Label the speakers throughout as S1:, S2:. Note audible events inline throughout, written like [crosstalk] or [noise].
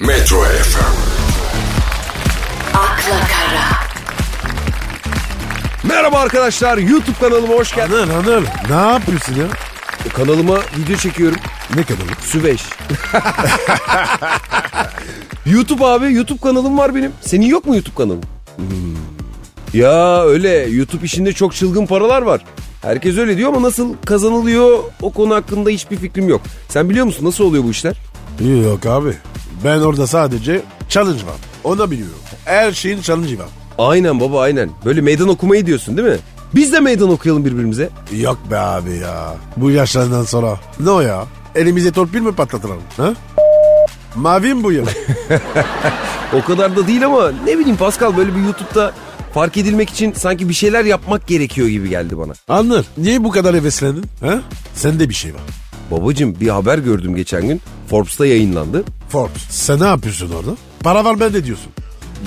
S1: Metro FM.
S2: akla kara,
S3: Merhaba arkadaşlar YouTube kanalıma hoş geldiniz.
S4: Anıl Anıl. Ne yapıyorsun ya?
S3: Kanalıma video çekiyorum.
S4: Ne kadar?
S3: Süveyş. [laughs] YouTube abi YouTube kanalım var benim. Senin yok mu YouTube kanalın? Hmm. Ya öyle YouTube işinde çok çılgın paralar var. Herkes öyle diyor ama nasıl kazanılıyor o konu hakkında hiçbir fikrim yok. Sen biliyor musun nasıl oluyor bu işler?
S4: Yok abi. Ben orada sadece challenge var. Onu biliyorum. Her şeyin challenge'ı var.
S3: Aynen baba aynen. Böyle meydan okumayı diyorsun değil mi? Biz de meydan okuyalım birbirimize.
S4: Yok be abi ya. Bu yaşlardan sonra. Ne o ya? Elimize torpil mi patlatalım? Ha? Mavim [laughs] bu ya.
S3: O kadar da değil ama ne bileyim Pascal böyle bir YouTube'da fark edilmek için sanki bir şeyler yapmak gerekiyor gibi geldi bana.
S4: Anıl niye bu kadar heveslendin? Ha? Sende bir şey var.
S3: Babacım bir haber gördüm geçen gün. Forbes'ta yayınlandı.
S4: Forbes. Sen ne yapıyorsun orada? Para var bende diyorsun.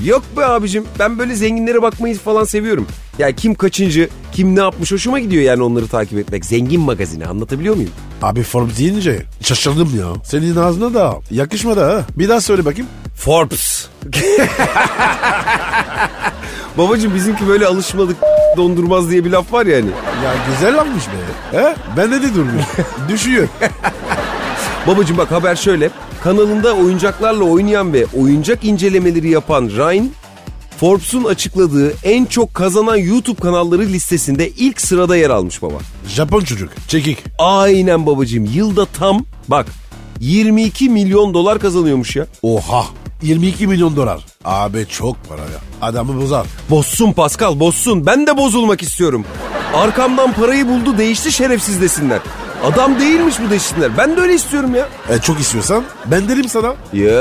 S3: Yok be abicim ben böyle zenginlere bakmayı falan seviyorum. Yani kim kaçıncı, kim ne yapmış hoşuma gidiyor yani onları takip etmek. Zengin magazini anlatabiliyor muyum?
S4: Abi Forbes deyince şaşırdım ya. Senin ağzına da yakışmadı ha. Bir daha söyle bakayım.
S3: Forbes. [laughs] Babacım bizimki böyle alışmadık dondurmaz diye bir laf var ya hani.
S4: Ya güzel lanmış be. He? Bende de [laughs] durmuş. Düşüyor.
S3: Babacım bak haber şöyle. Kanalında oyuncaklarla oynayan ve oyuncak incelemeleri yapan Ryan, Forbes'un açıkladığı en çok kazanan YouTube kanalları listesinde ilk sırada yer almış baba.
S4: Japon çocuk. Çekik.
S3: Aynen babacığım. Yılda tam bak 22 milyon dolar kazanıyormuş ya.
S4: Oha. 22 milyon dolar. Abi çok para ya. Adamı bozar.
S3: Bozsun Pascal bozsun. Ben de bozulmak istiyorum. Arkamdan parayı buldu değişti şerefsiz desinler. Adam değilmiş bu desinler. Ben de öyle istiyorum ya.
S4: E, çok istiyorsan ben derim sana.
S3: Ya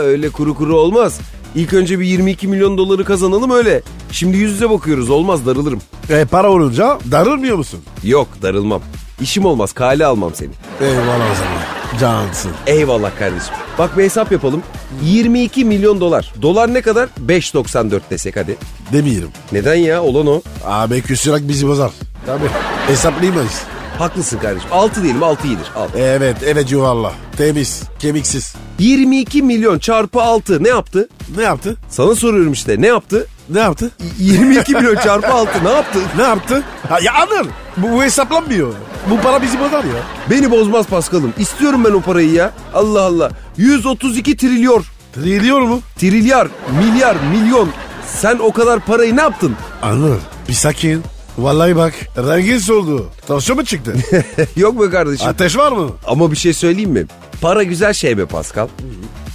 S3: öyle kuru kuru olmaz. İlk önce bir 22 milyon doları kazanalım öyle. Şimdi yüz yüze bakıyoruz olmaz darılırım.
S4: E, para olunca darılmıyor musun?
S3: Yok darılmam. İşim olmaz kale almam seni.
S4: Eyvallah o zaman. Cansın.
S3: Eyvallah kardeşim. Bak bir hesap yapalım. 22 milyon dolar. Dolar ne kadar? 5.94 desek hadi.
S4: Demeyelim.
S3: Neden ya? Olan o.
S4: Abi küsürek bizi bozar. Tabii. Hesaplayamayız.
S3: Haklısın kardeşim. 6 diyelim 6 iyidir. Al.
S4: Evet evet yuvarla. Temiz. Kemiksiz.
S3: 22 milyon çarpı 6 ne yaptı?
S4: Ne yaptı?
S3: Sana soruyorum işte ne yaptı?
S4: Ne yaptı?
S3: Y- 22 milyon çarpı 6 ne yaptı?
S4: Ne yaptı? Ha, ya Anıl. Bu, bu hesaplanmıyor. Bu para bizi bozar ya.
S3: Beni bozmaz Paskal'ım. İstiyorum ben o parayı ya. Allah Allah. 132 trilyon.
S4: Trilyon mu?
S3: Trilyar, milyar, milyon. Sen o kadar parayı ne yaptın? [laughs]
S4: Anıl bir sakin. Vallahi bak rengin soldu. Tansiyon mu çıktı? [laughs]
S3: Yok be kardeşim.
S4: Ateş var mı?
S3: Ama bir şey söyleyeyim mi? Para güzel şey be Pascal.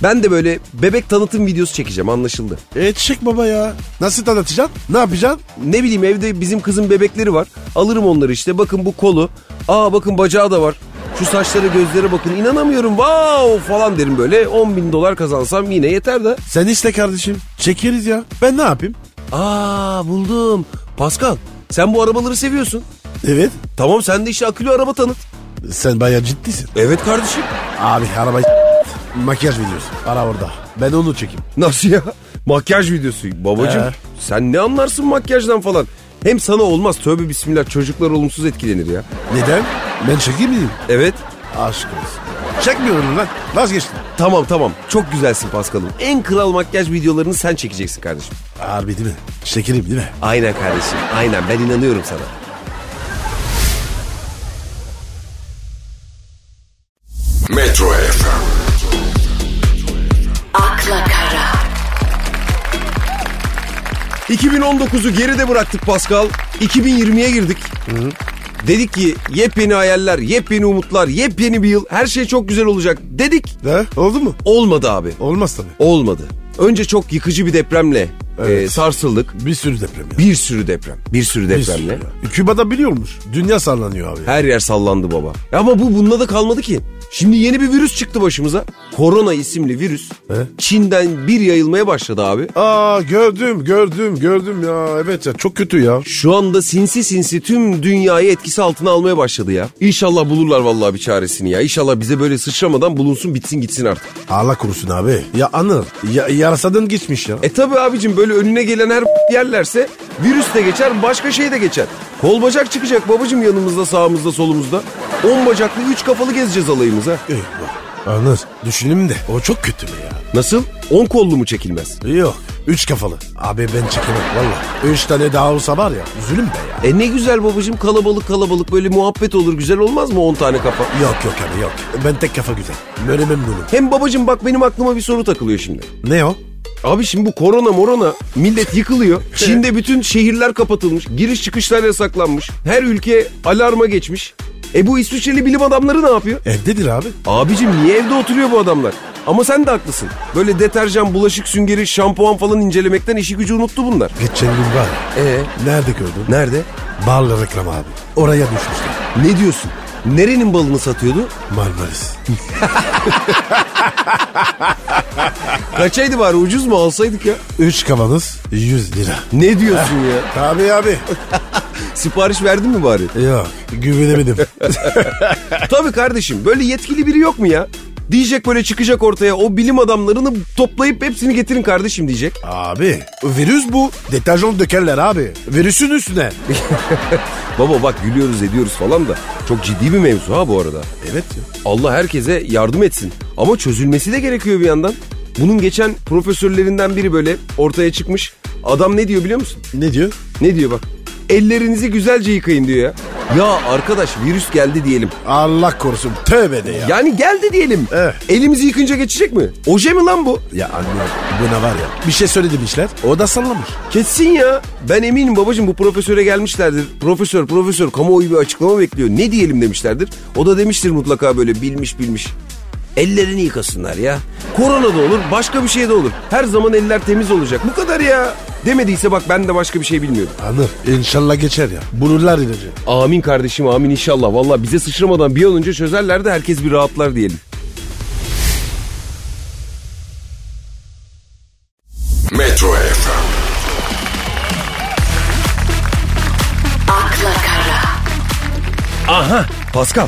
S3: Ben de böyle bebek tanıtım videosu çekeceğim anlaşıldı.
S4: E çık baba ya. Nasıl tanıtacaksın? Ne yapacaksın?
S3: Ne bileyim evde bizim kızın bebekleri var. Alırım onları işte. Bakın bu kolu. Aa bakın bacağı da var. Şu saçlara gözlere bakın. İnanamıyorum. Wow falan derim böyle. 10 bin dolar kazansam yine yeter de.
S4: Sen iste kardeşim. Çekeriz ya. Ben ne yapayım?
S3: Aa buldum. Pascal sen bu arabaları seviyorsun.
S4: Evet.
S3: Tamam sen de işte akülü araba tanıt.
S4: Sen bayağı ciddisin.
S3: Evet kardeşim. [laughs]
S4: Abi arabayı [laughs] makyaj videosu. Para orada. Ben onu çekeyim.
S3: Nasıl ya? Makyaj videosu. Babacım
S4: Ee?
S3: sen ne anlarsın makyajdan falan. Hem sana olmaz tövbe bismillah çocuklar olumsuz etkilenir ya.
S4: Neden? Ben çekeyim miyim?
S3: Evet
S4: Aşk olsun. Çekmiyorum lan. Vazgeçtim.
S3: tamam tamam çok güzelsin Paskal'ım. En kral makyaj videolarını sen çekeceksin kardeşim.
S4: Harbi değil mi? Çekelim değil mi?
S3: Aynen kardeşim aynen ben inanıyorum sana.
S1: Metro FM.
S2: akla kara,
S3: 2019'u geride bıraktık Pascal. 2020'ye girdik. Dedik ki yepyeni hayaller, yepyeni umutlar, yepyeni bir yıl. Her şey çok güzel olacak dedik.
S4: Ne? Oldu mu?
S3: Olmadı abi.
S4: Olmaz tabii.
S3: Olmadı. Önce çok yıkıcı bir depremle
S4: Evet.
S3: e, sarsıldık.
S4: Bir sürü deprem ya.
S3: Bir sürü deprem. Bir sürü
S4: Bir sürü
S3: depremle.
S4: ya. Küba'da biliyormuş. Dünya sallanıyor abi.
S3: Her yer sallandı baba. E Ama bu bununla da kalmadı ki. Şimdi yeni bir virüs çıktı başımıza. Korona isimli virüs. Çin'den bir yayılmaya başladı abi.
S4: Aa gördüm gördüm gördüm ya evet ya çok kötü ya.
S3: Şu anda sinsi sinsi tüm dünyayı etkisi altına almaya başladı ya. İnşallah bulurlar vallahi bir çaresini ya. İnşallah bize böyle sıçramadan bulunsun bitsin gitsin artık.
S4: Allah korusun abi. Ya Anıl ya, yarasadan geçmiş ya.
S3: E tabi abicim böyle önüne gelen her [laughs] yerlerse virüs de geçer başka şey de geçer. Kol bacak çıkacak babacım yanımızda sağımızda solumuzda. On bacaklı üç kafalı gezeceğiz alayımıza.
S4: Eyvah. Anır. Düşündüm de o çok kötü mü ya?
S3: Nasıl? 10 kollu mu çekilmez?
S4: Yok. Üç kafalı. Abi ben çekemem valla. Üç tane daha olsa var ya üzülüm be ya.
S3: E ne güzel babacığım kalabalık kalabalık böyle muhabbet olur güzel olmaz mı 10 tane kafa?
S4: Yok yok abi yok. Ben tek kafa güzel. Böyle memnunum.
S3: Hem babacığım bak benim aklıma bir soru takılıyor şimdi.
S4: Ne o?
S3: Abi şimdi bu korona morona millet yıkılıyor. Çin'de bütün şehirler kapatılmış. Giriş çıkışlar yasaklanmış. Her ülke alarma geçmiş. E bu İsviçreli bilim adamları ne yapıyor?
S4: Evdedir E, abi.
S3: Abicim niye evde oturuyor bu adamlar? Ama sen de haklısın. Böyle deterjan, bulaşık süngeri, şampuan falan incelemekten işi gücü unuttu bunlar.
S4: Geçen gün var ya.
S3: E
S4: Nerede gördün?
S3: nerede?
S4: Barla reklam abi. Oraya düşmüşler.
S3: Ne diyorsun? Nerenin balını satıyordu?
S4: Marmaris.
S3: Kaçaydı bari ucuz mu alsaydık ya?
S4: Üç kavanoz 100 lira.
S3: Ne diyorsun ya?
S4: Abi abi.
S3: Sipariş verdin mi bari?
S4: Yok güvenemedim.
S3: Tabii kardeşim böyle yetkili biri yok mu ya? Diyecek böyle çıkacak ortaya o bilim adamlarını toplayıp hepsini getirin kardeşim diyecek. [laughs]
S4: abi virüs bu. Deterjan dökerler abi. Virüsün üstüne.
S3: Baba bak gülüyoruz ediyoruz falan da çok ciddi bir mevzu ha bu arada.
S4: Evet ya.
S3: Allah herkese yardım etsin. Ama çözülmesi de gerekiyor bir yandan. Bunun geçen profesörlerinden biri böyle ortaya çıkmış. Adam ne diyor biliyor musun?
S4: Ne diyor?
S3: Ne diyor bak. Ellerinizi güzelce yıkayın diyor ya. Ya arkadaş virüs geldi diyelim.
S4: Allah korusun tövbe de ya.
S3: Yani geldi diyelim.
S4: Evet.
S3: Elimizi yıkayınca geçecek mi? Oje mi lan bu?
S4: Ya anne buna var ya bir şey söylemişler o da sallamış.
S3: Kesin ya. Ben eminim babacığım bu profesöre gelmişlerdir. Profesör profesör kamuoyu bir açıklama bekliyor. Ne diyelim demişlerdir. O da demiştir mutlaka böyle bilmiş bilmiş. Ellerini yıkasınlar ya. Korona da olur başka bir şey de olur. Her zaman eller temiz olacak. Bu kadar ya. Demediyse bak ben de başka bir şey bilmiyorum.
S4: Anır inşallah geçer ya bulurlar ilacı.
S3: Amin kardeşim amin inşallah. Valla bize sıçramadan bir an önce çözerler de herkes bir rahatlar diyelim.
S1: Metro FM,
S2: akla kara,
S3: Aha Pascal.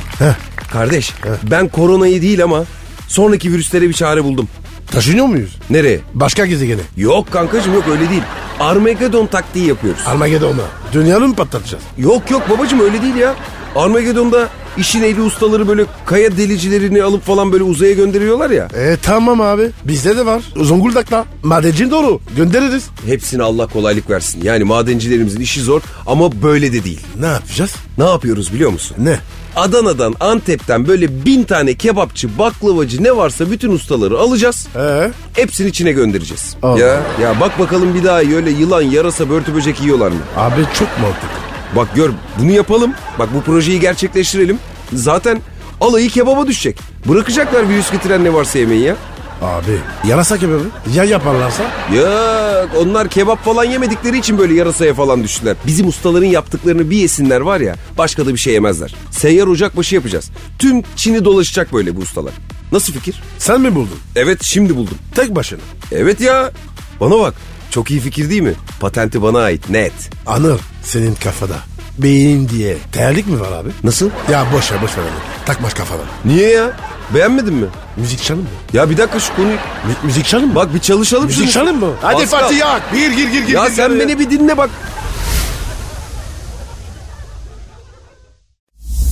S3: Kardeş ben koronayı değil ama sonraki virüslere bir çare buldum.
S4: Taşınıyor muyuz?
S3: Nereye?
S4: Başka gezegene.
S3: Yok kankacığım yok öyle değil. Armageddon taktiği yapıyoruz.
S4: Armageddon'a. Dünyanın mı patlatacağız?
S3: Yok yok babacığım öyle değil ya. Armageddon'da işin ehli ustaları böyle kaya delicilerini alıp falan böyle uzaya gönderiyorlar ya.
S4: E tamam abi bizde de var. Zonguldak'ta. Madencin doğru göndeririz.
S3: Hepsine Allah kolaylık versin. Yani madencilerimizin işi zor ama böyle de değil.
S4: Ne yapacağız?
S3: Ne yapıyoruz biliyor musun?
S4: Ne?
S3: Adana'dan, Antep'ten böyle bin tane kebapçı, baklavacı ne varsa bütün ustaları alacağız.
S4: Ee?
S3: Hepsini içine göndereceğiz.
S4: Al.
S3: Ya ya bak bakalım bir daha öyle yılan, yarasa, börtü böcek yiyorlar mı?
S4: Abi çok mantıklı.
S3: Bak gör bunu yapalım. Bak bu projeyi gerçekleştirelim. Zaten alayı kebaba düşecek. Bırakacaklar virüs getiren ne varsa yemeği ya.
S4: Abi yarasa kebabı ya yaparlarsa?
S3: Ya onlar kebap falan yemedikleri için böyle yarasaya falan düştüler. Bizim ustaların yaptıklarını bir yesinler var ya başka da bir şey yemezler. Seyyar ocakbaşı yapacağız. Tüm Çin'i dolaşacak böyle bu ustalar. Nasıl fikir?
S4: Sen mi buldun?
S3: Evet şimdi buldum.
S4: Tek başına.
S3: Evet ya. Bana bak. Çok iyi fikir değil mi? Patenti bana ait net.
S4: Anır senin kafada. Beyin diye. Terlik mi var abi?
S3: Nasıl?
S4: Ya boş ver boş ver. abi. Takma kafana.
S3: Niye ya? Beğenmedin mi?
S4: Müzik çalın mı?
S3: Ya bir dakika şu konuyu...
S4: Mü- müzik çalın mı?
S3: Bak bir çalışalım şunu.
S4: müzik çalın mı? Hadi
S3: Pascal.
S4: Fatih yak. Bir gir gir gir.
S3: Ya
S4: gir,
S3: sen
S4: gir,
S3: beni bir dinle bak.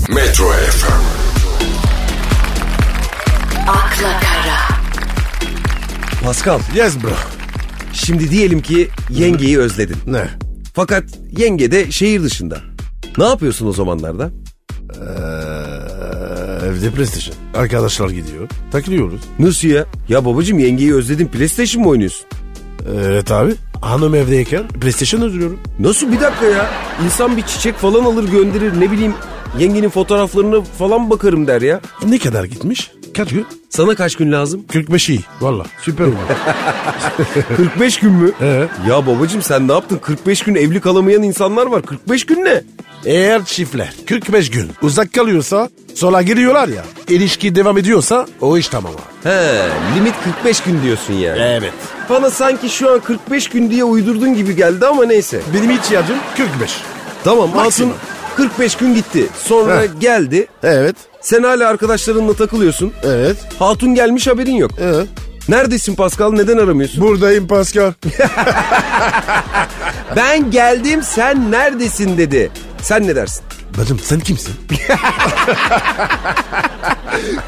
S1: Metro FM,
S2: akla kara,
S3: Pascal
S4: Yes bro.
S3: şimdi diyelim ki yengeyi özledin.
S4: Ne?
S3: Fakat yenge de şehir dışında. Ne yapıyorsun o zamanlarda?
S4: Ee, evde PlayStation. Arkadaşlar gidiyor. Takılıyoruz.
S3: Nasıl ya? Ya babacım yengeyi özledin PlayStation mı oynuyorsun?
S4: Evet abi. Hanım evdeyken PlayStation özlüyorum.
S3: Nasıl bir dakika ya? İnsan bir çiçek falan alır gönderir ne bileyim yengenin fotoğraflarına falan bakarım der ya.
S4: Ne kadar gitmiş? Kaç gün?
S3: Sana kaç gün lazım?
S4: 45 iyi. Valla süper [laughs] oldu.
S3: 45 gün mü?
S4: Ee?
S3: Ya babacım sen ne yaptın? 45 gün evli kalamayan insanlar var. 45 gün ne?
S4: Eğer çiftler 45 gün uzak kalıyorsa sola giriyorlar ya. İlişki devam ediyorsa o iş tamam abi.
S3: He, limit 45 gün diyorsun yani.
S4: Evet.
S3: Bana sanki şu an 45 gün diye uydurdun gibi geldi ama neyse.
S4: Benim ihtiyacım 45.
S3: Tamam altın
S4: Maksimum.
S3: 45 gün gitti. Sonra
S4: Heh.
S3: geldi.
S4: Evet.
S3: Sen hala arkadaşlarınla takılıyorsun.
S4: Evet.
S3: Hatun gelmiş haberin yok.
S4: Evet.
S3: Neredesin Pascal neden aramıyorsun?
S4: Buradayım Pascal.
S3: Ben geldim sen neredesin dedi. Sen ne dersin?
S4: Bacım sen kimsin?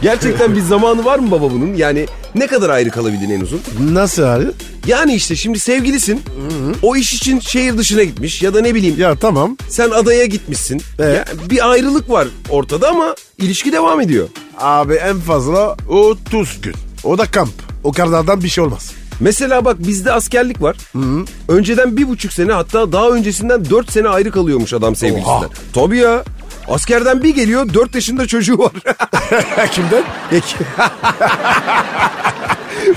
S3: Gerçekten bir zamanı var mı baba bunun? Yani ne kadar ayrı kalabildin en uzun?
S4: Nasıl abi?
S3: Yani işte şimdi sevgilisin. O iş için şehir dışına gitmiş ya da ne bileyim
S4: Ya tamam.
S3: sen adaya gitmişsin.
S4: Evet.
S3: Ya bir ayrılık var ortada ama ilişki devam ediyor.
S4: Abi en fazla 30 gün. O da kamp. O kadardan bir şey olmaz.
S3: Mesela bak bizde askerlik var. Önceden bir buçuk sene hatta daha öncesinden dört sene ayrı kalıyormuş adam sevgilisinden.
S4: Oha.
S3: Tabii ya. Askerden bir geliyor dört yaşında çocuğu var.
S4: [laughs] Kimden?
S3: Peki.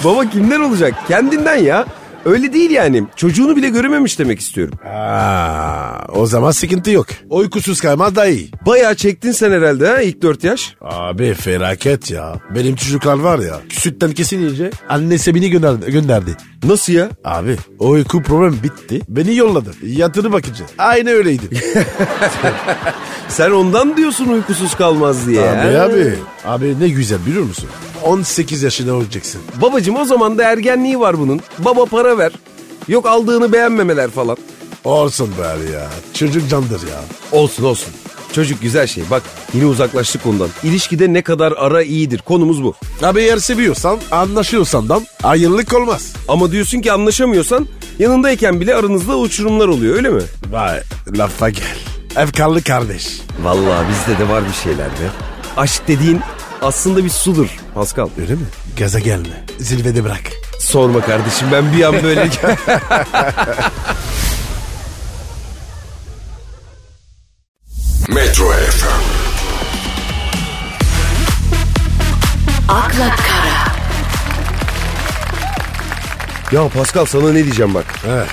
S3: Baba kimden olacak? Kendinden ya. Öyle değil yani. Çocuğunu bile görememiş demek istiyorum.
S4: Aa, o zaman sıkıntı yok. Uykusuz kalmaz daha iyi.
S3: Bayağı çektin sen herhalde ha ilk dört yaş.
S4: Abi felaket ya. Benim çocuklar var ya. Sütten kesince annesi beni gönderdi. gönderdi.
S3: Nasıl ya?
S4: Abi o uyku problem bitti. Beni yolladı. Yatırı bakıcı. Aynı öyleydi.
S3: Sen ondan diyorsun uykusuz kalmaz diye.
S4: abi
S3: ha?
S4: abi. Abi ne güzel biliyor musun? 18 yaşında olacaksın.
S3: Babacım o zaman da ergenliği var bunun. Baba para ver. Yok aldığını beğenmemeler falan.
S4: Olsun be abi ya. Çocuk candır ya.
S3: Olsun olsun. Çocuk güzel şey. Bak yine uzaklaştık ondan. İlişkide ne kadar ara iyidir. Konumuz bu.
S4: Abi eğer seviyorsan, anlaşıyorsan da ayrılık olmaz.
S3: Ama diyorsun ki anlaşamıyorsan yanındayken bile aranızda uçurumlar oluyor öyle mi?
S4: Vay lafa gel. Efkarlı kardeş.
S3: Vallahi bizde de var bir şeyler be. Aşk dediğin aslında bir sudur Pascal.
S4: Öyle mi? Gaza gelme. Zirvede bırak.
S3: Sorma kardeşim ben bir an [laughs] böyle...
S1: Metro FM,
S2: akla kara,
S3: ya Pascal sana ne diyeceğim bak.
S4: Heh,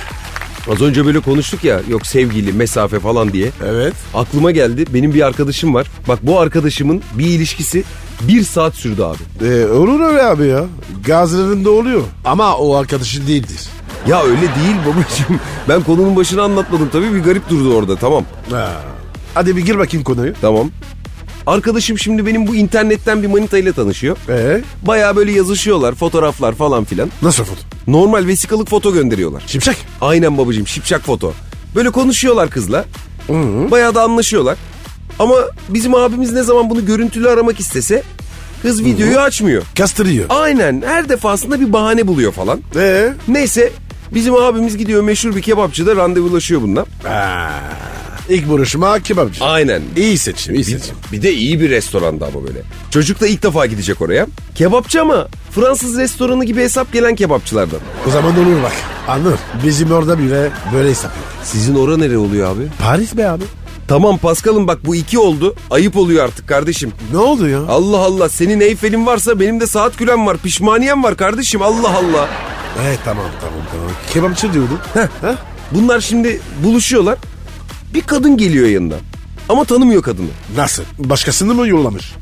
S3: Az önce böyle konuştuk ya yok sevgili mesafe falan diye.
S4: evet.
S3: Aklıma geldi benim bir arkadaşım var. Bak bu arkadaşımın bir ilişkisi bir saat sürdü abi.
S4: Ee, olur öyle abi ya. Gazilerinde oluyor. Ama o arkadaşın değildir.
S3: Ya öyle değil babacığım. [laughs] Ben konunun başını anlatmadım tabii bir garip durdu orada tamam.
S4: Ha. Hadi bir gir bakayım konuyu.
S3: Tamam. Arkadaşım şimdi benim bu internetten bir manita ile tanışıyor.
S4: Ee,
S3: Baya böyle yazışıyorlar fotoğraflar falan filan.
S4: nasıl foto?
S3: Normal vesikalık foto gönderiyorlar.
S4: Şimşek.
S3: Aynen babacığım şipşak foto. Böyle konuşuyorlar kızla. Bayağı da anlaşıyorlar. Ama bizim abimiz ne zaman bunu görüntülü aramak istese kız videoyu açmıyor.
S4: Kastırıyor.
S3: Aynen her defasında bir bahane buluyor falan.
S4: Ee,
S3: Neyse bizim abimiz gidiyor meşhur bir kebapçıda randevulaşıyor bununla.
S4: ilk buluşma kebapçı.
S3: Aynen.
S4: İyi seçim, iyi seçim.
S3: Bir de iyi bir restoranda ama böyle. Çocuk da ilk defa gidecek oraya. Kebapçı ama Fransız restoranı gibi hesap gelen kebapçılardan.
S4: O zaman olur bak. Anladın. Bizim orada bile böyle hesap yok.
S3: Sizin ora nere oluyor abi?
S4: Paris be abi.
S3: Tamam Paskal'ım bak bu iki oldu. Ayıp oluyor artık kardeşim.
S4: Ne oldu ya?
S3: Allah Allah senin Eyfel'in varsa benim de saat külem var pişmaniyem var kardeşim Allah Allah.
S4: Evet tamam tamam tamam. Kebapçı diyordun. Heh.
S3: Bunlar şimdi buluşuyorlar. Bir kadın geliyor yanından. Ama tanımıyor kadını.
S4: Nasıl? Başkasını mı yollamış?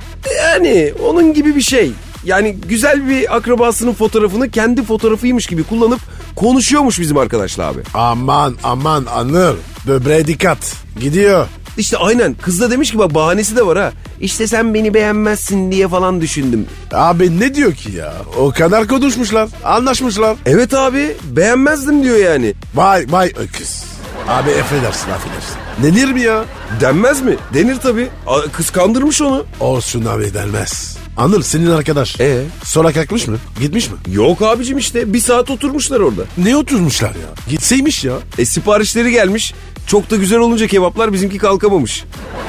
S3: Yani onun gibi bir şey. Yani güzel bir akrabasının fotoğrafını kendi fotoğrafıymış gibi kullanıp konuşuyormuş bizim arkadaşla abi.
S4: Aman aman Anır. Böbreğe dikkat. Gidiyor.
S3: İşte aynen kız da demiş ki bak bahanesi de var ha. İşte sen beni beğenmezsin diye falan düşündüm.
S4: Abi ne diyor ki ya? O kadar konuşmuşlar. Anlaşmışlar. E,
S3: Evet abi beğenmezdim diyor yani.
S4: Vay vay öküz. Abi affedersin affedersin. Denir mi ya?
S3: Denmez mi? Denir tabii. A- Kıskandırmış onu.
S4: Olsun abi denmez. Anır senin arkadaş.
S3: Ee?
S4: Sonra kalkmış mı? Gitmiş mi?
S3: Yok abicim işte bir saat oturmuşlar orada.
S4: Ne oturmuşlar ya? Gitseymiş ya.
S3: E siparişleri gelmiş. Çok da güzel olunca kebaplar bizimki kalkamamış.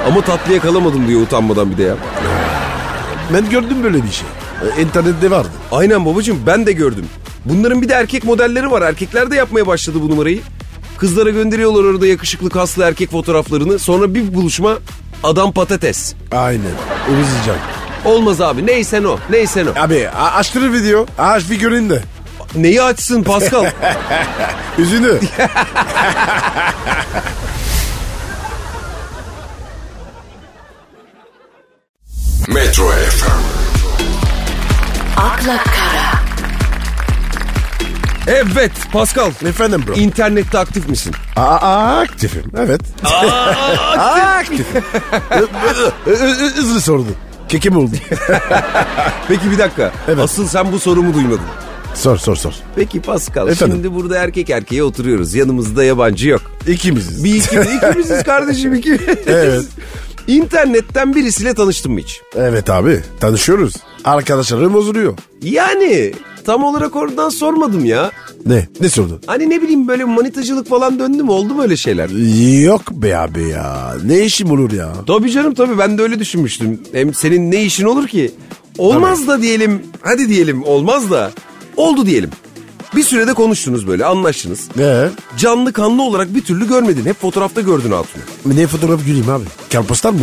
S3: Ama tatlıya kalamadım diyor utanmadan bir de ya.
S4: Ben gördüm böyle bir şey. Ee, İnternette vardı.
S3: Aynen babacığım ben de gördüm. Bunların bir de erkek modelleri var. Erkekler de yapmaya başladı bu numarayı. Kızlara gönderiyorlar orada yakışıklı kaslı erkek fotoğraflarını. Sonra bir buluşma adam patates.
S4: Aynen. Üzeceğim.
S3: Olmaz abi neysen o neysen o.
S4: Abi a- açtırır video. Aç figürünü de.
S3: Neyi açsın
S4: [laughs]
S3: Pascal?
S4: Üzünü.
S1: Metro FM,
S2: akla kara,
S3: evet Pascal.
S4: Efendim bro.
S3: İnternette aktif misin?
S4: Aa, aa, aktifim. Evet. Aktif. Ö- ö- ö- Hızlı sordu. Kekim oldu.
S3: [laughs] Peki bir dakika.
S4: Evet.
S3: Asıl sen bu sorumu duymadın.
S4: sor sor sor.
S3: Peki Pascal
S4: Efendim?
S3: şimdi burada erkek erkeğe oturuyoruz. Yanımızda yabancı yok.
S4: İkimiziz.
S3: Bir iki, ikimiziz kardeşim iki.
S4: Evet.
S3: İnternetten birisiyle tanıştın mı hiç?
S4: Evet abi tanışıyoruz. Arkadaşlarım bozuluyor.
S3: Yani tam olarak oradan sormadım ya.
S4: Ne? Ne sordun?
S3: Hani ne bileyim böyle manitacılık falan döndü mü oldu mu öyle şeyler?
S4: Yok be abi ya. Ne işim olur ya?
S3: Tabii canım tabii ben de öyle düşünmüştüm. Hem senin ne işin olur ki? Olmaz da diyelim, hadi diyelim olmaz da oldu diyelim. Bir sürede konuştunuz böyle anlaştınız.
S4: Ne?
S3: Canlı kanlı olarak bir türlü görmedin. Hep fotoğrafta gördün hatunu.
S4: Ne fotoğraf güleyim abi? Karpostal mı?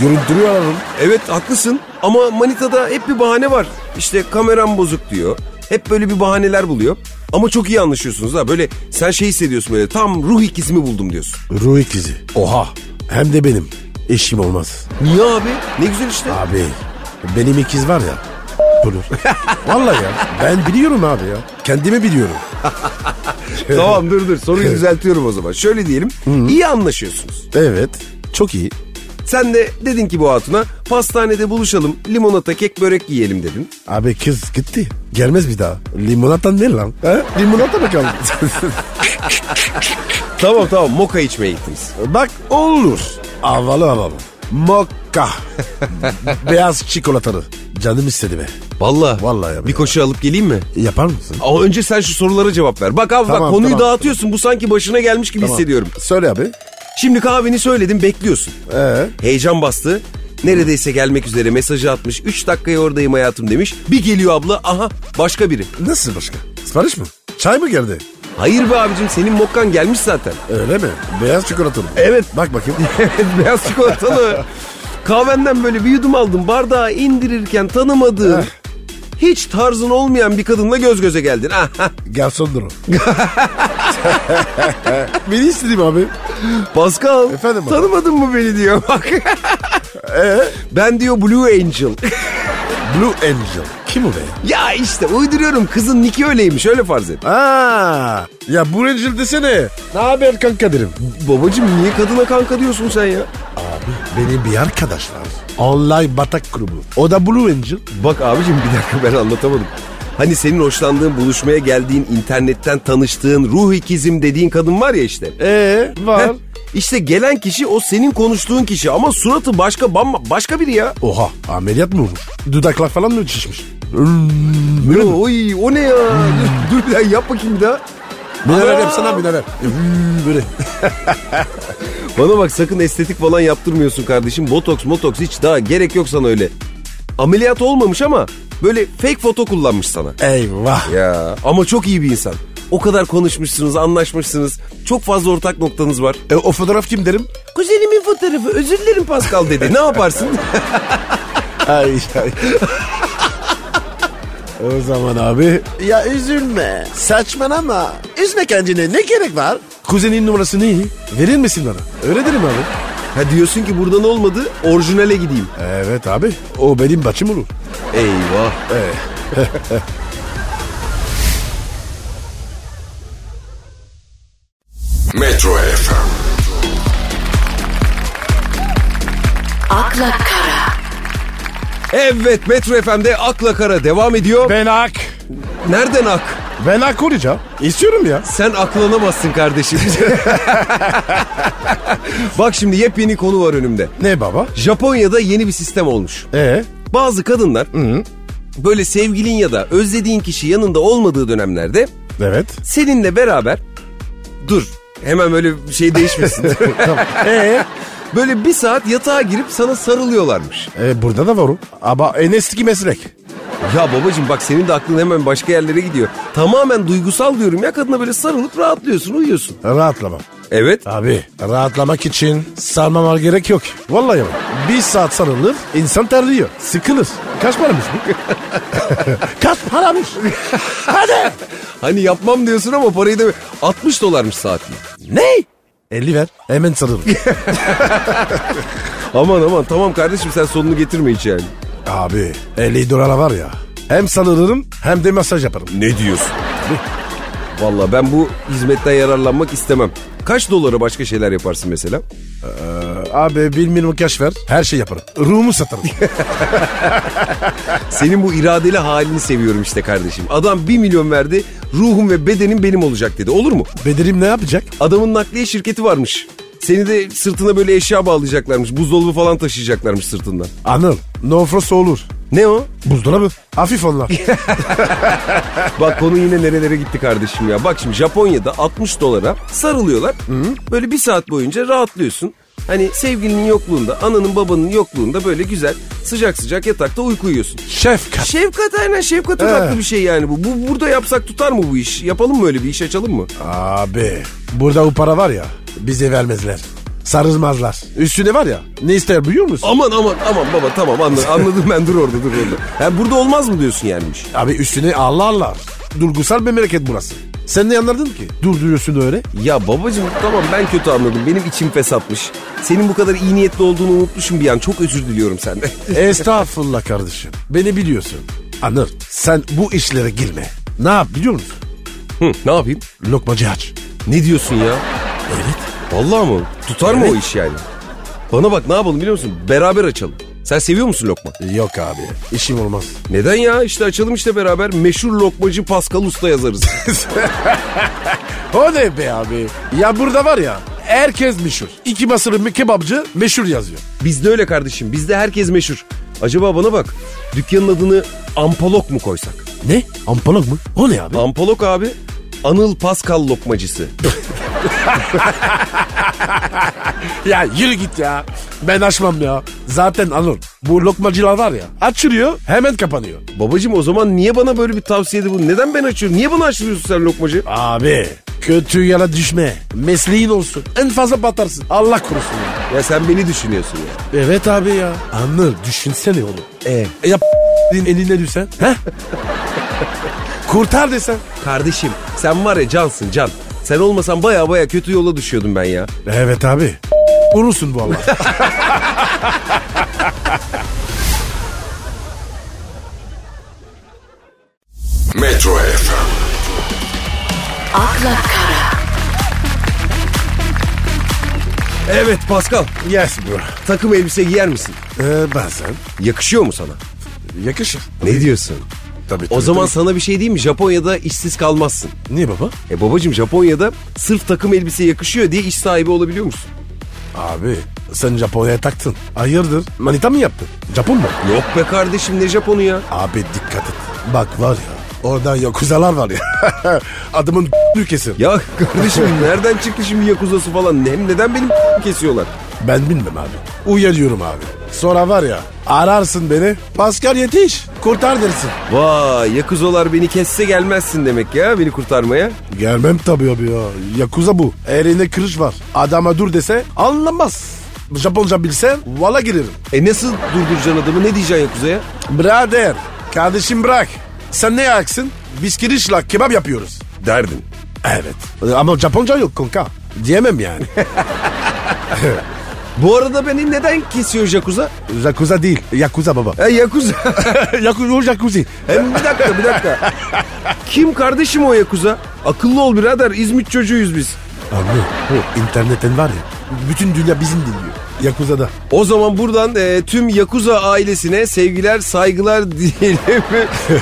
S4: Görüntülü alalım.
S3: Evet haklısın ama manitada hep bir bahane var. İşte kameram bozuk diyor. Hep böyle bir bahaneler buluyor. Ama çok iyi anlaşıyorsunuz ha. Böyle sen şey hissediyorsun böyle tam ruh ikizimi buldum diyorsun.
S4: Ruh ikizi. Oha. Hem de benim. Eşim olmaz.
S3: Niye abi? Ne güzel işte.
S4: Abi benim ikiz var ya. Olur. Vallahi ya. Ben biliyorum abi ya.
S3: [laughs]
S4: Kendimi biliyorum.
S3: [laughs] tamam dur dur soruyu düzeltiyorum o zaman. Şöyle diyelim iyi anlaşıyorsunuz.
S4: Evet. Çok iyi.
S3: Sen de dedin ki bu hatuna pastanede buluşalım limonata kek börek yiyelim dedin.
S4: Abi kız gitti. Gelmez bir daha. Limonata ne lan? He? Limonata mı
S3: [laughs]
S4: kaldı?
S3: Tamam tamam moka içmeye gittiniz.
S4: Bak olur. Havalı havalı. Mokka. Beyaz çikolatalı. Canım istedi be.
S3: Vallahi
S4: Vallahi ya.
S3: bir koşu alıp geleyim mi?
S4: Yapar mısın?
S3: Ama önce sen şu sorulara cevap ver. Bak abi bak
S4: Tamam,
S3: konuyu
S4: tamam,
S3: dağıtıyorsun. Bu sanki başına gelmiş gibi hissediyorum.
S4: Söyle abi.
S3: Şimdi kahveni söyledim bekliyorsun.
S4: Ee?
S3: Heyecan bastı. Neredeyse gelmek üzere mesajı atmış. 3 dakikaya oradayım hayatım demiş. Bir geliyor abla aha başka biri.
S4: Nasıl başka? Sipariş mi? Çay mı geldi?
S3: Hayır be abicim senin mokkan gelmiş zaten. [laughs]
S4: Öyle mi? Beyaz çikolatalı.
S3: Evet.
S4: Bak bakayım.
S3: [laughs] Evet beyaz çikolatalı. Kahvenden böyle bir yudum aldım. Bardağı indirirken tanımadığın,
S4: Eh.
S3: hiç tarzın olmayan bir kadınla göz göze geldin. Ah, ah.
S4: Garsondur o. [laughs] Beni istedim abi.
S3: Pascal
S4: Efendim E? abi?
S3: tanımadın mı beni diyor bak.
S4: [laughs]
S3: ben diyor Blue Angel.
S4: Blue Angel. Kim o be?
S3: ya işte uyduruyorum kızın niki öyleymiş öyle farz et.
S4: Aa, ya Blue Angel desene. Ne haber kanka derim.
S3: Babacım niye kadına kanka diyorsun sen ya?
S4: Abi benim bir arkadaş var. Online batak grubu. O da Blue Angel.
S3: Bak abicim bir dakika ben anlatamadım. Hani senin hoşlandığın buluşmaya geldiğin internetten tanıştığın ruh ikizim dediğin kadın var ya işte.
S4: Ee
S3: Heh, İşte gelen kişi o senin konuştuğun kişi ama suratı başka bamba başka biri ya.
S4: Oha ameliyat mı olmuş? Dudaklar falan mı şişmiş?
S3: Yo, oy, o ne ya? [laughs] Dur bir daha yap bakayım bir daha.
S4: Minarer yapsana minarer. Hmm, Böyle.
S3: Bana bak sakın estetik falan yaptırmıyorsun kardeşim. Botoks motoks hiç daha gerek yok sana öyle. Ameliyat olmamış ama böyle fake foto kullanmış sana.
S4: Eyvah.
S3: Ya ama çok iyi bir insan. O kadar konuşmuşsunuz, anlaşmışsınız. Çok fazla ortak noktanız var.
S4: E, o fotoğraf kim derim?
S3: Kuzenimin fotoğrafı özür dilerim Pascal dedi. ne yaparsın?
S4: Ay ay. o zaman abi. Ya üzülme. Saçmalama. Üzme kendini. Ne gerek var? Kuzenin numarası ne? Verir misin bana? Öyle derim abi.
S3: ha diyorsun ki buradan olmadı orijinale gideyim.
S4: Evet abi. O benim başım olur.
S3: Eyvah.
S1: Metro FM,
S2: akla kara,
S3: Evet Metro FM'de Akla Kara devam ediyor.
S4: Ben ak.
S3: Nereden ak?
S4: Ben ak olacağım. İstiyorum ya.
S3: Sen aklanamazsın kardeşim. [laughs] Bak şimdi yepyeni konu var önümde.
S4: Ne baba?
S3: Japonya'da yeni bir sistem olmuş.
S4: E
S3: Bazı kadınlar böyle sevgilin ya da özlediğin kişi yanında olmadığı dönemlerde
S4: Evet.
S3: seninle beraber dur hemen böyle bir şey değişmesin. [laughs]
S4: tamam. E,
S3: böyle bir saat yatağa girip sana sarılıyorlarmış.
S4: e, burada da var o. Ama en eski meslek.
S3: Ya babacığım bak senin de aklın hemen başka yerlere gidiyor. Tamamen duygusal diyorum ya kadına böyle sarılıp rahatlıyorsun uyuyorsun.
S4: Rahatlama.
S3: Evet.
S4: Abi rahatlamak için sarmama gerek yok. Vallahi bak. Bir saat sarılır insan terliyor. Sıkılır. Kaç paramış bu? [laughs] Kaç paramış? Hadi.
S3: Hani yapmam diyorsun ama parayı da 60 dolarmış saatli.
S4: Ne? 50 ver. Hemen sarılır.
S3: Aman aman tamam kardeşim sen sonunu getirme hiç yani.
S4: Abi 50 dolara var ya. Hem sarılırım hem de masaj yaparım.
S3: Ne diyorsun? [laughs] Valla ben bu hizmetten yararlanmak istemem. Kaç dolara başka şeyler yaparsın mesela?
S4: Abi bir minimum cash ver. Her şey yaparım. Ruhumu satarım.
S3: Senin bu iradeli halini seviyorum işte kardeşim. Adam 1 milyon verdi, ruhum ve bedenim benim olacak dedi. Olur mu?
S4: Bedelim ne yapacak?
S3: Adamın nakliye şirketi varmış. Seni de sırtına böyle eşya bağlayacaklarmış. Buzdolabı falan taşıyacaklarmış sırtından.
S4: Anıl. No frost olur.
S3: Ne o?
S4: Buzdolabı. Hafif onlar.
S3: Bak konu yine nerelere gitti kardeşim ya. Bak şimdi Japonya'da 60 dolara sarılıyorlar. Böyle bir saat boyunca rahatlıyorsun. Hani sevgilinin yokluğunda, ananın babanın yokluğunda böyle güzel sıcak sıcak yatakta uyku uyuyorsun.
S4: Şefkat.
S3: Şefkat aynen şefkat odaklı
S4: He.
S3: bir şey yani bu. bu. Burada yapsak tutar mı bu iş? Yapalım mı öyle bir iş açalım mı?
S4: Abi burada o para var ya bize vermezler. Sarılmazlar. Üstüne var ya ne ister biliyor musun?
S3: Aman aman aman baba tamam anladım, [laughs] anladım ben dur orada dur orada. Ha, burada olmaz mı diyorsun yani bu iş?
S4: Abi üstüne Allah Allah. Durgusal bir memleket burası. Sen ne anladın ki? Durduruyorsun öyle.
S3: Ya babacığım tamam ben kötü anladım benim içim fesatmış. Senin bu kadar iyi niyetli olduğunu unutmuşum bir an çok özür diliyorum senden. [laughs]
S4: Estağfurullah kardeşim. Beni biliyorsun. Anır sen bu işlere girme. Ne yap biliyor musun?
S3: Hı, ne yapayım?
S4: Lokmacı aç.
S3: Ne diyorsun ya?
S4: Evet.
S3: Vallahi mı? Tutar mı o iş yani? Bana bak ne yapalım biliyor musun? Beraber açalım. Sen seviyor musun lokma?
S4: Yok abi işim olmaz.
S3: Neden ya? İşte açalım işte beraber. Meşhur lokmacı Pascal Usta yazarız.
S4: O ne be abi? Ya burada var ya herkes meşhur. İki basılı kebapçı meşhur yazıyor.
S3: [laughs] Bizde öyle kardeşim. Bizde herkes meşhur. Acaba bana bak. Dükkanın adını Ampalok mu koysak?
S4: Ne? Ampalak mı? O ne abi?
S3: Ampalok abi. Anıl Pascal lokmacısı.
S4: Ya yürü git ya. Ben açmam ya. Zaten alır. Bu lokmacılar var ya. Açılıyor hemen kapanıyor.
S3: Babacım o zaman niye bana böyle bir tavsiyede bu? Neden ben açıyorum? Niye bana açtırıyorsun sen lokmacı?
S4: Abi kötü yala düşme. Mesleğin olsun. En fazla batarsın. Allah korusun ya.
S3: Ya sen beni düşünüyorsun ya.
S4: Evet abi ya. Anır düşünsene oğlum.
S3: E,
S4: E ya eline düşsen. Heh? [laughs] Kurtar desen.
S3: kardeşim sen var ya cansın can. Sen olmasan baya baya kötü yola düşüyordum ben ya.
S4: Evet abi. Vurursun valla.
S1: Metro FM,
S2: akla kara,
S3: Evet Pascal
S4: [laughs] yes bro.
S3: takım elbise giyer misin?
S4: Ee, bazen
S3: Yakışıyor mu sana?
S4: yakışır.
S3: Ne diyorsun?
S4: Tabii,
S3: O zaman sana bir şey diyeyim mi? Japonya'da işsiz kalmazsın.
S4: Niye baba?
S3: E babacım Japonya'da sırf takım elbise yakışıyor diye iş sahibi olabiliyor musun?
S4: Abi sen Japonya'ya taktın. Hayırdır? Manita mı yaptın? Japon mu?
S3: Yok be kardeşim ne Japonu ya?
S4: Abi dikkat et. Bak var ya. Orada yakuzalar var ya. [laughs] Adamın ülkesi.
S3: Ya [laughs] kardeşim nereden çıktı şimdi yakuzası falan? Hem neden benim [laughs] kesiyorlar?
S4: Ben bilmem abi. Uyarıyorum abi. Sonra var ya ararsın beni. Pascal yetiş. Kurtar dersin.
S3: Vay yakuzolar beni kesse gelmezsin demek ya beni kurtarmaya.
S4: Gelmem tabii abi ya. Yakuza bu. Elinde kırış var. Adama dur dese anlamaz. Japonca bilsen valla girerim.
S3: E nasıl durduracaksın adamı ne diyeceksin yakuzaya?
S4: Birader. Kardeşim bırak. Sen ne yaksın? Biz kirişla kebap yapıyoruz.
S3: Derdin.
S4: Evet. Ama Japonca yok kanka. Diyemem yani. [laughs]
S3: Bu arada beni neden kesiyor yakuza?
S4: Yakuza değil. Yakuza baba.
S3: E yakuza. [laughs]
S4: [laughs] Yakuza E, o jacuzzi.
S3: Hem bir dakika bir dakika. Kim kardeşim o yakuza? Akıllı ol birader İzmit çocuğuyuz biz.
S4: Abi bu internetten var ya. Bütün dünya bizim dinliyor. Yakuza'da.
S3: O zaman buradan e, tüm Yakuza ailesine sevgiler, saygılar [laughs] diyelim.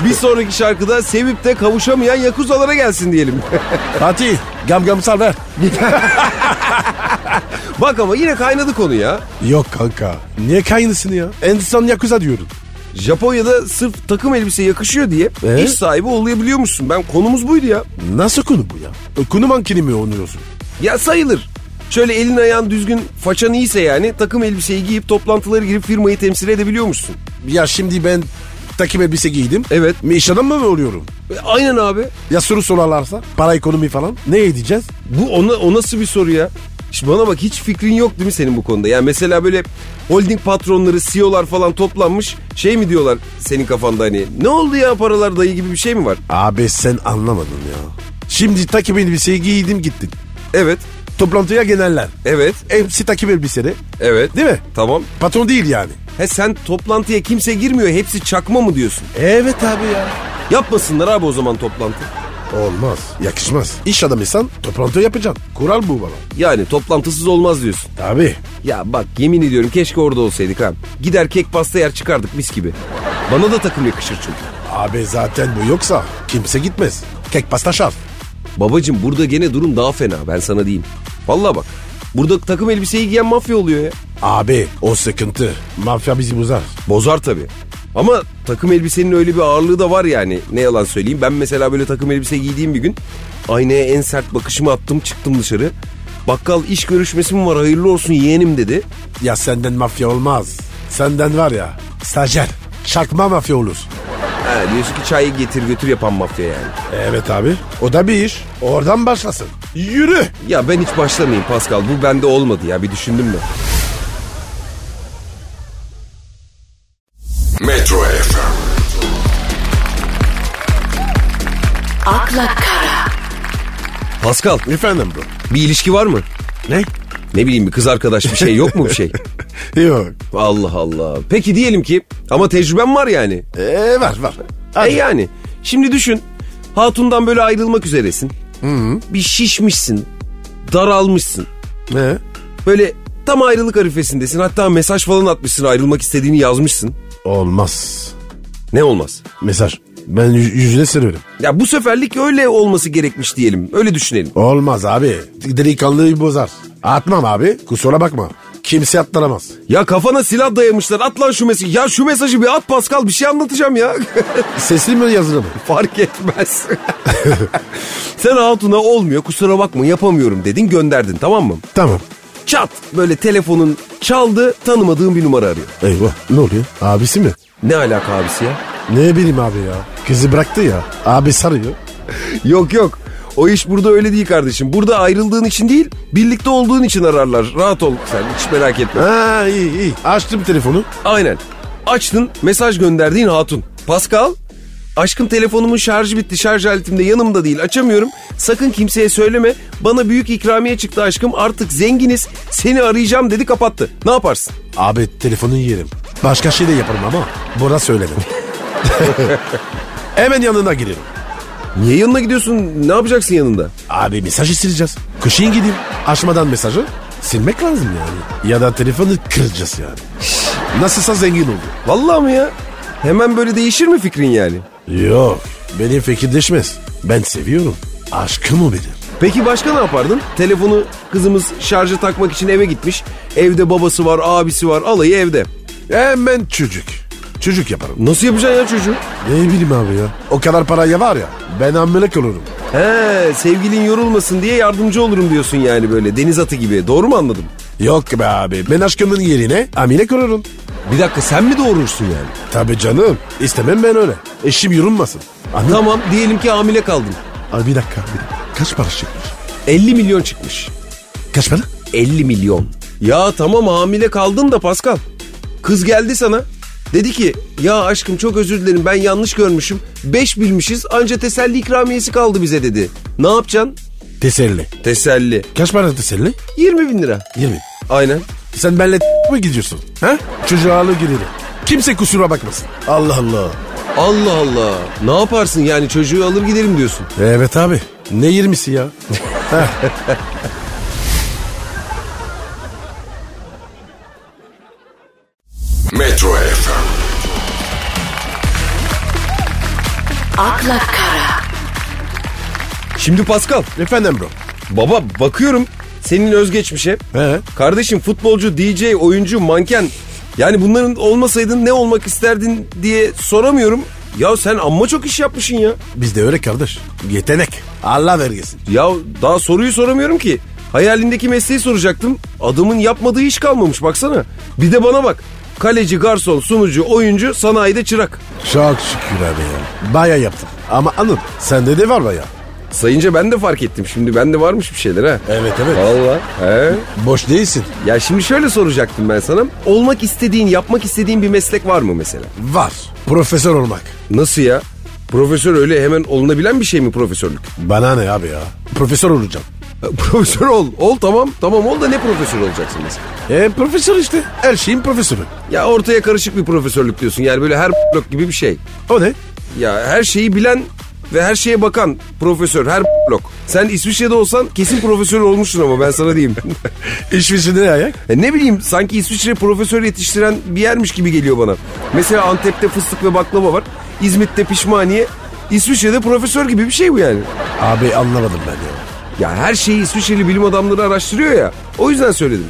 S3: bir sonraki şarkıda sevip de kavuşamayan Yakuzalara gelsin diyelim. [laughs]
S4: Fatih gam gam sal ver.
S3: Bak ama yine kaynadı konu ya.
S4: Yok kanka. Niye kaynısın ya? En son Yakuza diyorum.
S3: Japonya'da sırf takım elbise yakışıyor diye
S4: Ee?
S3: iş sahibi olabiliyormuşsun. Ben konumuz buydu ya.
S4: Nasıl konu bu ya? E, Konu mankini mi oynuyorsun?
S3: Ya sayılır. Şöyle elin ayağın düzgün, façan iyiyse yani takım elbiseyi giyip toplantılara girip firmayı temsil edebiliyormuşsun.
S4: Ya şimdi ben takip elbise giydim.
S3: Evet.
S4: Mi iş adamı mı oluyorum?
S3: E, Aynen abi.
S4: Ya soru sorarlarsa? Para ekonomi falan. Ne edeceğiz?
S3: Bu ona, o nasıl bir soru ya? Şimdi bana bak hiç fikrin yok değil mi senin bu konuda? Yani mesela böyle holding patronları, CEO'lar falan toplanmış şey mi diyorlar senin kafanda hani? Ne oldu ya paralar dayı gibi bir şey mi var?
S4: Abi sen anlamadın ya. Şimdi takip elbiseyi giydim gittim.
S3: Evet,
S4: Toplantıya gelenler.
S3: evet,
S4: Hepsi takip elbiseli.
S3: evet.
S4: Değil mi?
S3: Tamam.
S4: Patron değil yani.
S3: He sen toplantıya kimse girmiyor hepsi çakma mı diyorsun?
S4: Evet abi ya.
S3: Yapmasınlar abi o zaman toplantı.
S4: Olmaz. Yakışmaz. İş adamıysan toplantı yapacaksın. Kural bu baba.
S3: Yani toplantısız olmaz diyorsun.
S4: Tabii.
S3: Ya bak yemin ediyorum keşke orada olsaydık ha. Gider kek pasta yer çıkardık mis gibi. Bana da takım yakışır çünkü.
S4: Abi zaten bu yoksa kimse gitmez. Kek pasta şart.
S3: Babacım burada gene durum daha fena ben sana diyeyim. Vallahi bak Burada takım elbiseyi giyen mafya oluyor ya.
S4: Abi o sıkıntı. Mafya bizi bozar.
S3: Bozar tabii. Ama takım elbisenin öyle bir ağırlığı da var yani. Ne yalan söyleyeyim. Ben mesela böyle takım elbise giydiğim bir gün aynaya en sert bakışımı attım çıktım dışarı. Bakkal iş görüşmesi mi var hayırlı olsun yeğenim dedi.
S4: Ya senden mafya olmaz. Senden var ya stajyer. Çakma mafya olur.
S3: Ha, diyorsun ki çayı getir götür yapan mafya yani.
S4: Evet abi. O da bir iş. Oradan başlasın. Yürü.
S3: Ya ben hiç başlamayayım Pascal bu bende olmadı ya bir düşündüm mü?
S1: Metro FM.
S2: akla kara,
S3: Pascal
S4: Efendim bro.
S3: bir ilişki var mı?
S4: Ne?
S3: Ne bileyim bir kız arkadaş bir şey yok mu bir şey?
S4: Yok.
S3: Allah Allah. Peki diyelim ki ama tecrübem var yani.
S4: Ee, var var.
S3: E yani şimdi düşün hatundan böyle ayrılmak üzeresin. Bir şişmişsin, daralmışsın.
S4: Ne?
S3: Böyle tam ayrılık arifesindesin hatta mesaj falan atmışsın ayrılmak istediğini yazmışsın.
S4: Olmaz.
S3: Ne olmaz.
S4: Mesaj. Ben yü- yüzüne sürüyorum.
S3: Ya bu seferlik öyle olması gerekmiş diyelim. Öyle düşünelim.
S4: Olmaz abi. Delikanlıyı bozar. Atmam abi. Kusura bakma. Kimse atlanamaz.
S3: Ya kafana silah dayamışlar. At lan şu mesajı. Ya şu mesajı bir at Pascal bir şey anlatacağım ya. [laughs]
S4: Sesli mi yazılı mı?
S3: Fark etmez. [laughs] Sen hatuna olmuyor kusura bakma yapamıyorum dedin gönderdin tamam mı?
S4: Tamam.
S3: Çat böyle telefonun çaldı tanımadığın bir numara arıyor.
S4: Eyvah. Ne oluyor? Abisi mi?
S3: Ne alaka abisi ya?
S4: Ne bileyim abi ya. Kızı bıraktı ya. Abi sarıyor.
S3: Yok yok. O iş burada öyle değil kardeşim. Burada ayrıldığın için değil, birlikte olduğun için ararlar. Rahat ol sen, hiç merak etme.
S4: Ha iyi iyi. Açtım telefonu.
S3: Aynen. Açtın, mesaj gönderdiğin hatun. Pascal, aşkım telefonumun şarjı bitti, şarj aletimde yanımda değil, açamıyorum. Sakın kimseye söyleme, bana büyük ikramiye çıktı aşkım, artık zenginiz, seni arayacağım dedi kapattı. Ne yaparsın?
S4: Abi telefonu yerim. Başka şey de yaparım ama buna söyledim. [laughs] Hemen yanına girerim.
S3: Niye yanına gidiyorsun, ne yapacaksın yanında?
S4: Abi mesajı sileceğiz. Kışın gideyim. Açmadan mesajı silmek lazım yani. Ya da telefonu kıracağız yani. Nasılsa zengin oldu.
S3: Vallahi mi ya? Hemen böyle değişir mi fikrin yani?
S4: Yok. Benim fikir değişmez. Ben seviyorum. Aşkım o benim.
S3: Peki başka ne yapardın? Telefonu kızımız şarja takmak için eve gitmiş. Evde babası var, abisi var, alayı evde.
S4: Hemen çocuk. Çocuk yaparım.
S3: Nasıl yapacaksın ya çocuğu?
S4: Ne bileyim abi ya. O kadar paraya var ya. Ben amelek olurum.
S3: He, sevgilin yorulmasın diye yardımcı olurum diyorsun yani böyle deniz atı gibi. Doğru mu anladım?
S4: Yok be abi. Ben aşkımın yerine amelek olurum.
S3: Bir dakika sen mi doğurursun yani?
S4: Tabii canım. İstemem ben öyle. Eşim yorulmasın. Anladın mı?
S3: Tamam diyelim ki hamile kaldın.
S4: Abi bir dakika. Bir dakika. Kaç para çıkmış?
S3: 50 milyon çıkmış.
S4: Kaç para?
S3: 50 milyon. Ya tamam hamile kaldın da Pascal. Kız geldi sana. Dedi ki ya aşkım çok özür dilerim ben yanlış görmüşüm. 5 bilmişiz anca teselli ikramiyesi kaldı bize dedi. Ne yapacaksın?
S4: Teselli.
S3: Teselli.
S4: Kaç para teselli?
S3: 20 bin lira.
S4: 20.
S3: Aynen.
S4: Sen benimle [laughs] mı gidiyorsun? Ha? Çocuğa alı girelim. Kimse kusura bakmasın. Allah Allah.
S3: Allah Allah. Ne yaparsın yani çocuğu alır giderim diyorsun.
S4: Evet abi. Ne 20'si ya?
S1: Metro FM.
S2: akla kara,
S3: Şimdi Pascal.
S4: Efendim bro.
S3: Baba bakıyorum senin özgeçmişe.
S4: He.
S3: Kardeşim futbolcu, DJ, oyuncu, manken. Yani bunların olmasaydın ne olmak isterdin diye soramıyorum. Ya sen amma çok iş yapmışsın ya.
S4: Bizde öyle kardeş. Yetenek. Allah vergisi.
S3: Ya daha soruyu soramıyorum ki. Hayalindeki mesleği soracaktım. Adamın yapmadığı iş kalmamış baksana. Bir de bana bak. Kaleci, garson, sunucu, oyuncu, sanayide çırak.
S4: Çok şükür abi ya. Baya yaptım. Ama anıl sende de var baya.
S3: Sayınca ben de fark ettim. Şimdi bende varmış bir şeyler ha.
S4: Evet, evet.
S3: Valla. He.
S4: Boş değilsin.
S3: Ya şimdi şöyle soracaktım ben sana. Olmak istediğin, yapmak istediğin bir meslek var mı mesela?
S4: Var. Profesör olmak.
S3: Nasıl ya? Profesör öyle hemen olunabilen bir şey mi profesörlük?
S4: Bana ne abi ya? Profesör olacağım.
S3: [laughs] profesör ol. Ol tamam. Tamam ol da ne profesör olacaksın mesela?
S4: E profesör işte. Her şeyin profesörü.
S3: Ya ortaya karışık bir profesörlük diyorsun. Yani böyle her [laughs] blok gibi bir şey.
S4: O ne?
S3: Ya her şeyi bilen ve her şeye bakan profesör her [laughs] blok. Sen İsviçre'de olsan kesin profesör olmuşsun ama ben sana diyeyim. [laughs]
S4: İşvişinde ne ayak?
S3: E ne bileyim sanki İsviçre profesör yetiştiren bir yermiş gibi geliyor bana. Mesela Antep'te fıstık ve baklava var. İzmit'te pişmaniye. İsviçre'de profesör gibi bir şey bu yani.
S4: Abi anlamadım ben ya.
S3: Ya her şeyi İsviçreli bilim adamları araştırıyor ya. O yüzden söyledim.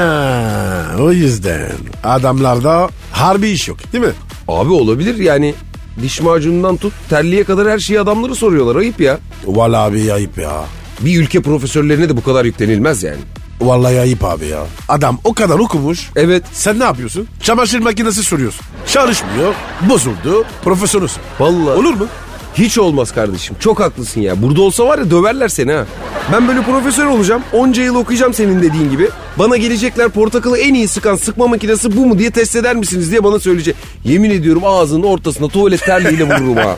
S4: Ha, o yüzden adamlarda harbi iş yok değil mi?
S3: Abi olabilir yani diş macunundan tut terliğe kadar her şeyi adamları soruyorlar ayıp ya.
S4: Vallahi abi ayıp ya.
S3: Bir ülke profesörlerine de bu kadar yüklenilmez yani.
S4: Vallahi ayıp abi ya. Adam o kadar okumuş.
S3: Evet
S4: Sen ne yapıyorsun? Çamaşır makinesi sürüyorsun. Çalışmıyor. Bozuldu. Profesörüsün.
S3: vallahi.
S4: Olur mu?
S3: Hiç olmaz kardeşim çok haklısın ya. Burada olsa var ya döverler seni ha. Ben böyle profesör olacağım. Onca yıl okuyacağım senin dediğin gibi. Bana gelecekler portakalı en iyi sıkan sıkma makinesi bu mu diye test eder misiniz diye bana söyleyecek. Yemin ediyorum ağzının ortasına tuvalet terliğiyle vururum ha.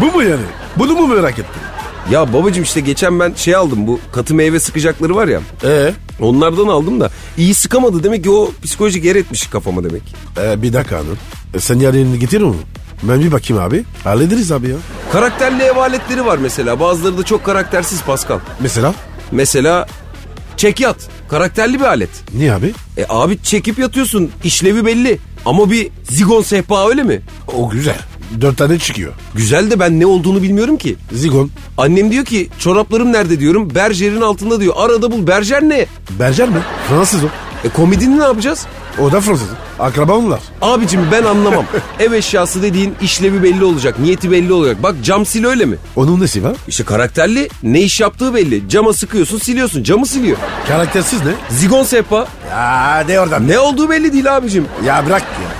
S4: Bu mu yani? Bunu mu merak ettin?
S3: Ya babacım işte geçen ben şey aldım bu katı meyve sıkacakları var ya.
S4: Ee?
S3: Onlardan aldım da iyi sıkamadı demek ki o psikolojik yer etmiş kafama demek.
S4: Ee, bir dakika hanım. E, sen yarın getirir mi? Ben bir bakayım abi. Hallederiz abi ya.
S3: Karakterli ev aletleri var mesela bazıları da çok karaktersiz Pascal.
S4: Mesela?
S3: Mesela çekyat karakterli bir alet.
S4: Niye abi?
S3: E abi çekip yatıyorsun işlevi belli ama bir zigon sehpa öyle mi?
S4: O güzel. Dört tane çıkıyor.
S3: Güzel de ben ne olduğunu bilmiyorum ki.
S4: Zigon.
S3: Annem diyor ki çoraplarım nerede diyorum berjerin altında diyor arada bul berjer ne?
S4: Berger mi? Fransız o.
S3: E komedini ne yapacağız?
S4: O da Fransız. Akraba onlar.
S3: Abicim ben anlamam. Ev eşyası dediğin işlevi belli olacak, niyeti belli olacak. Bak cam sil öyle mi?
S4: Onun nesi var?
S3: İşte karakterli ne iş yaptığı belli. Cama sıkıyorsun siliyorsun camı siliyor.
S4: Karaktersiz ne?
S3: Zigon sehpa
S4: Ya de oradan.
S3: ne olduğu belli değil abicim.
S4: Ya bırak ya.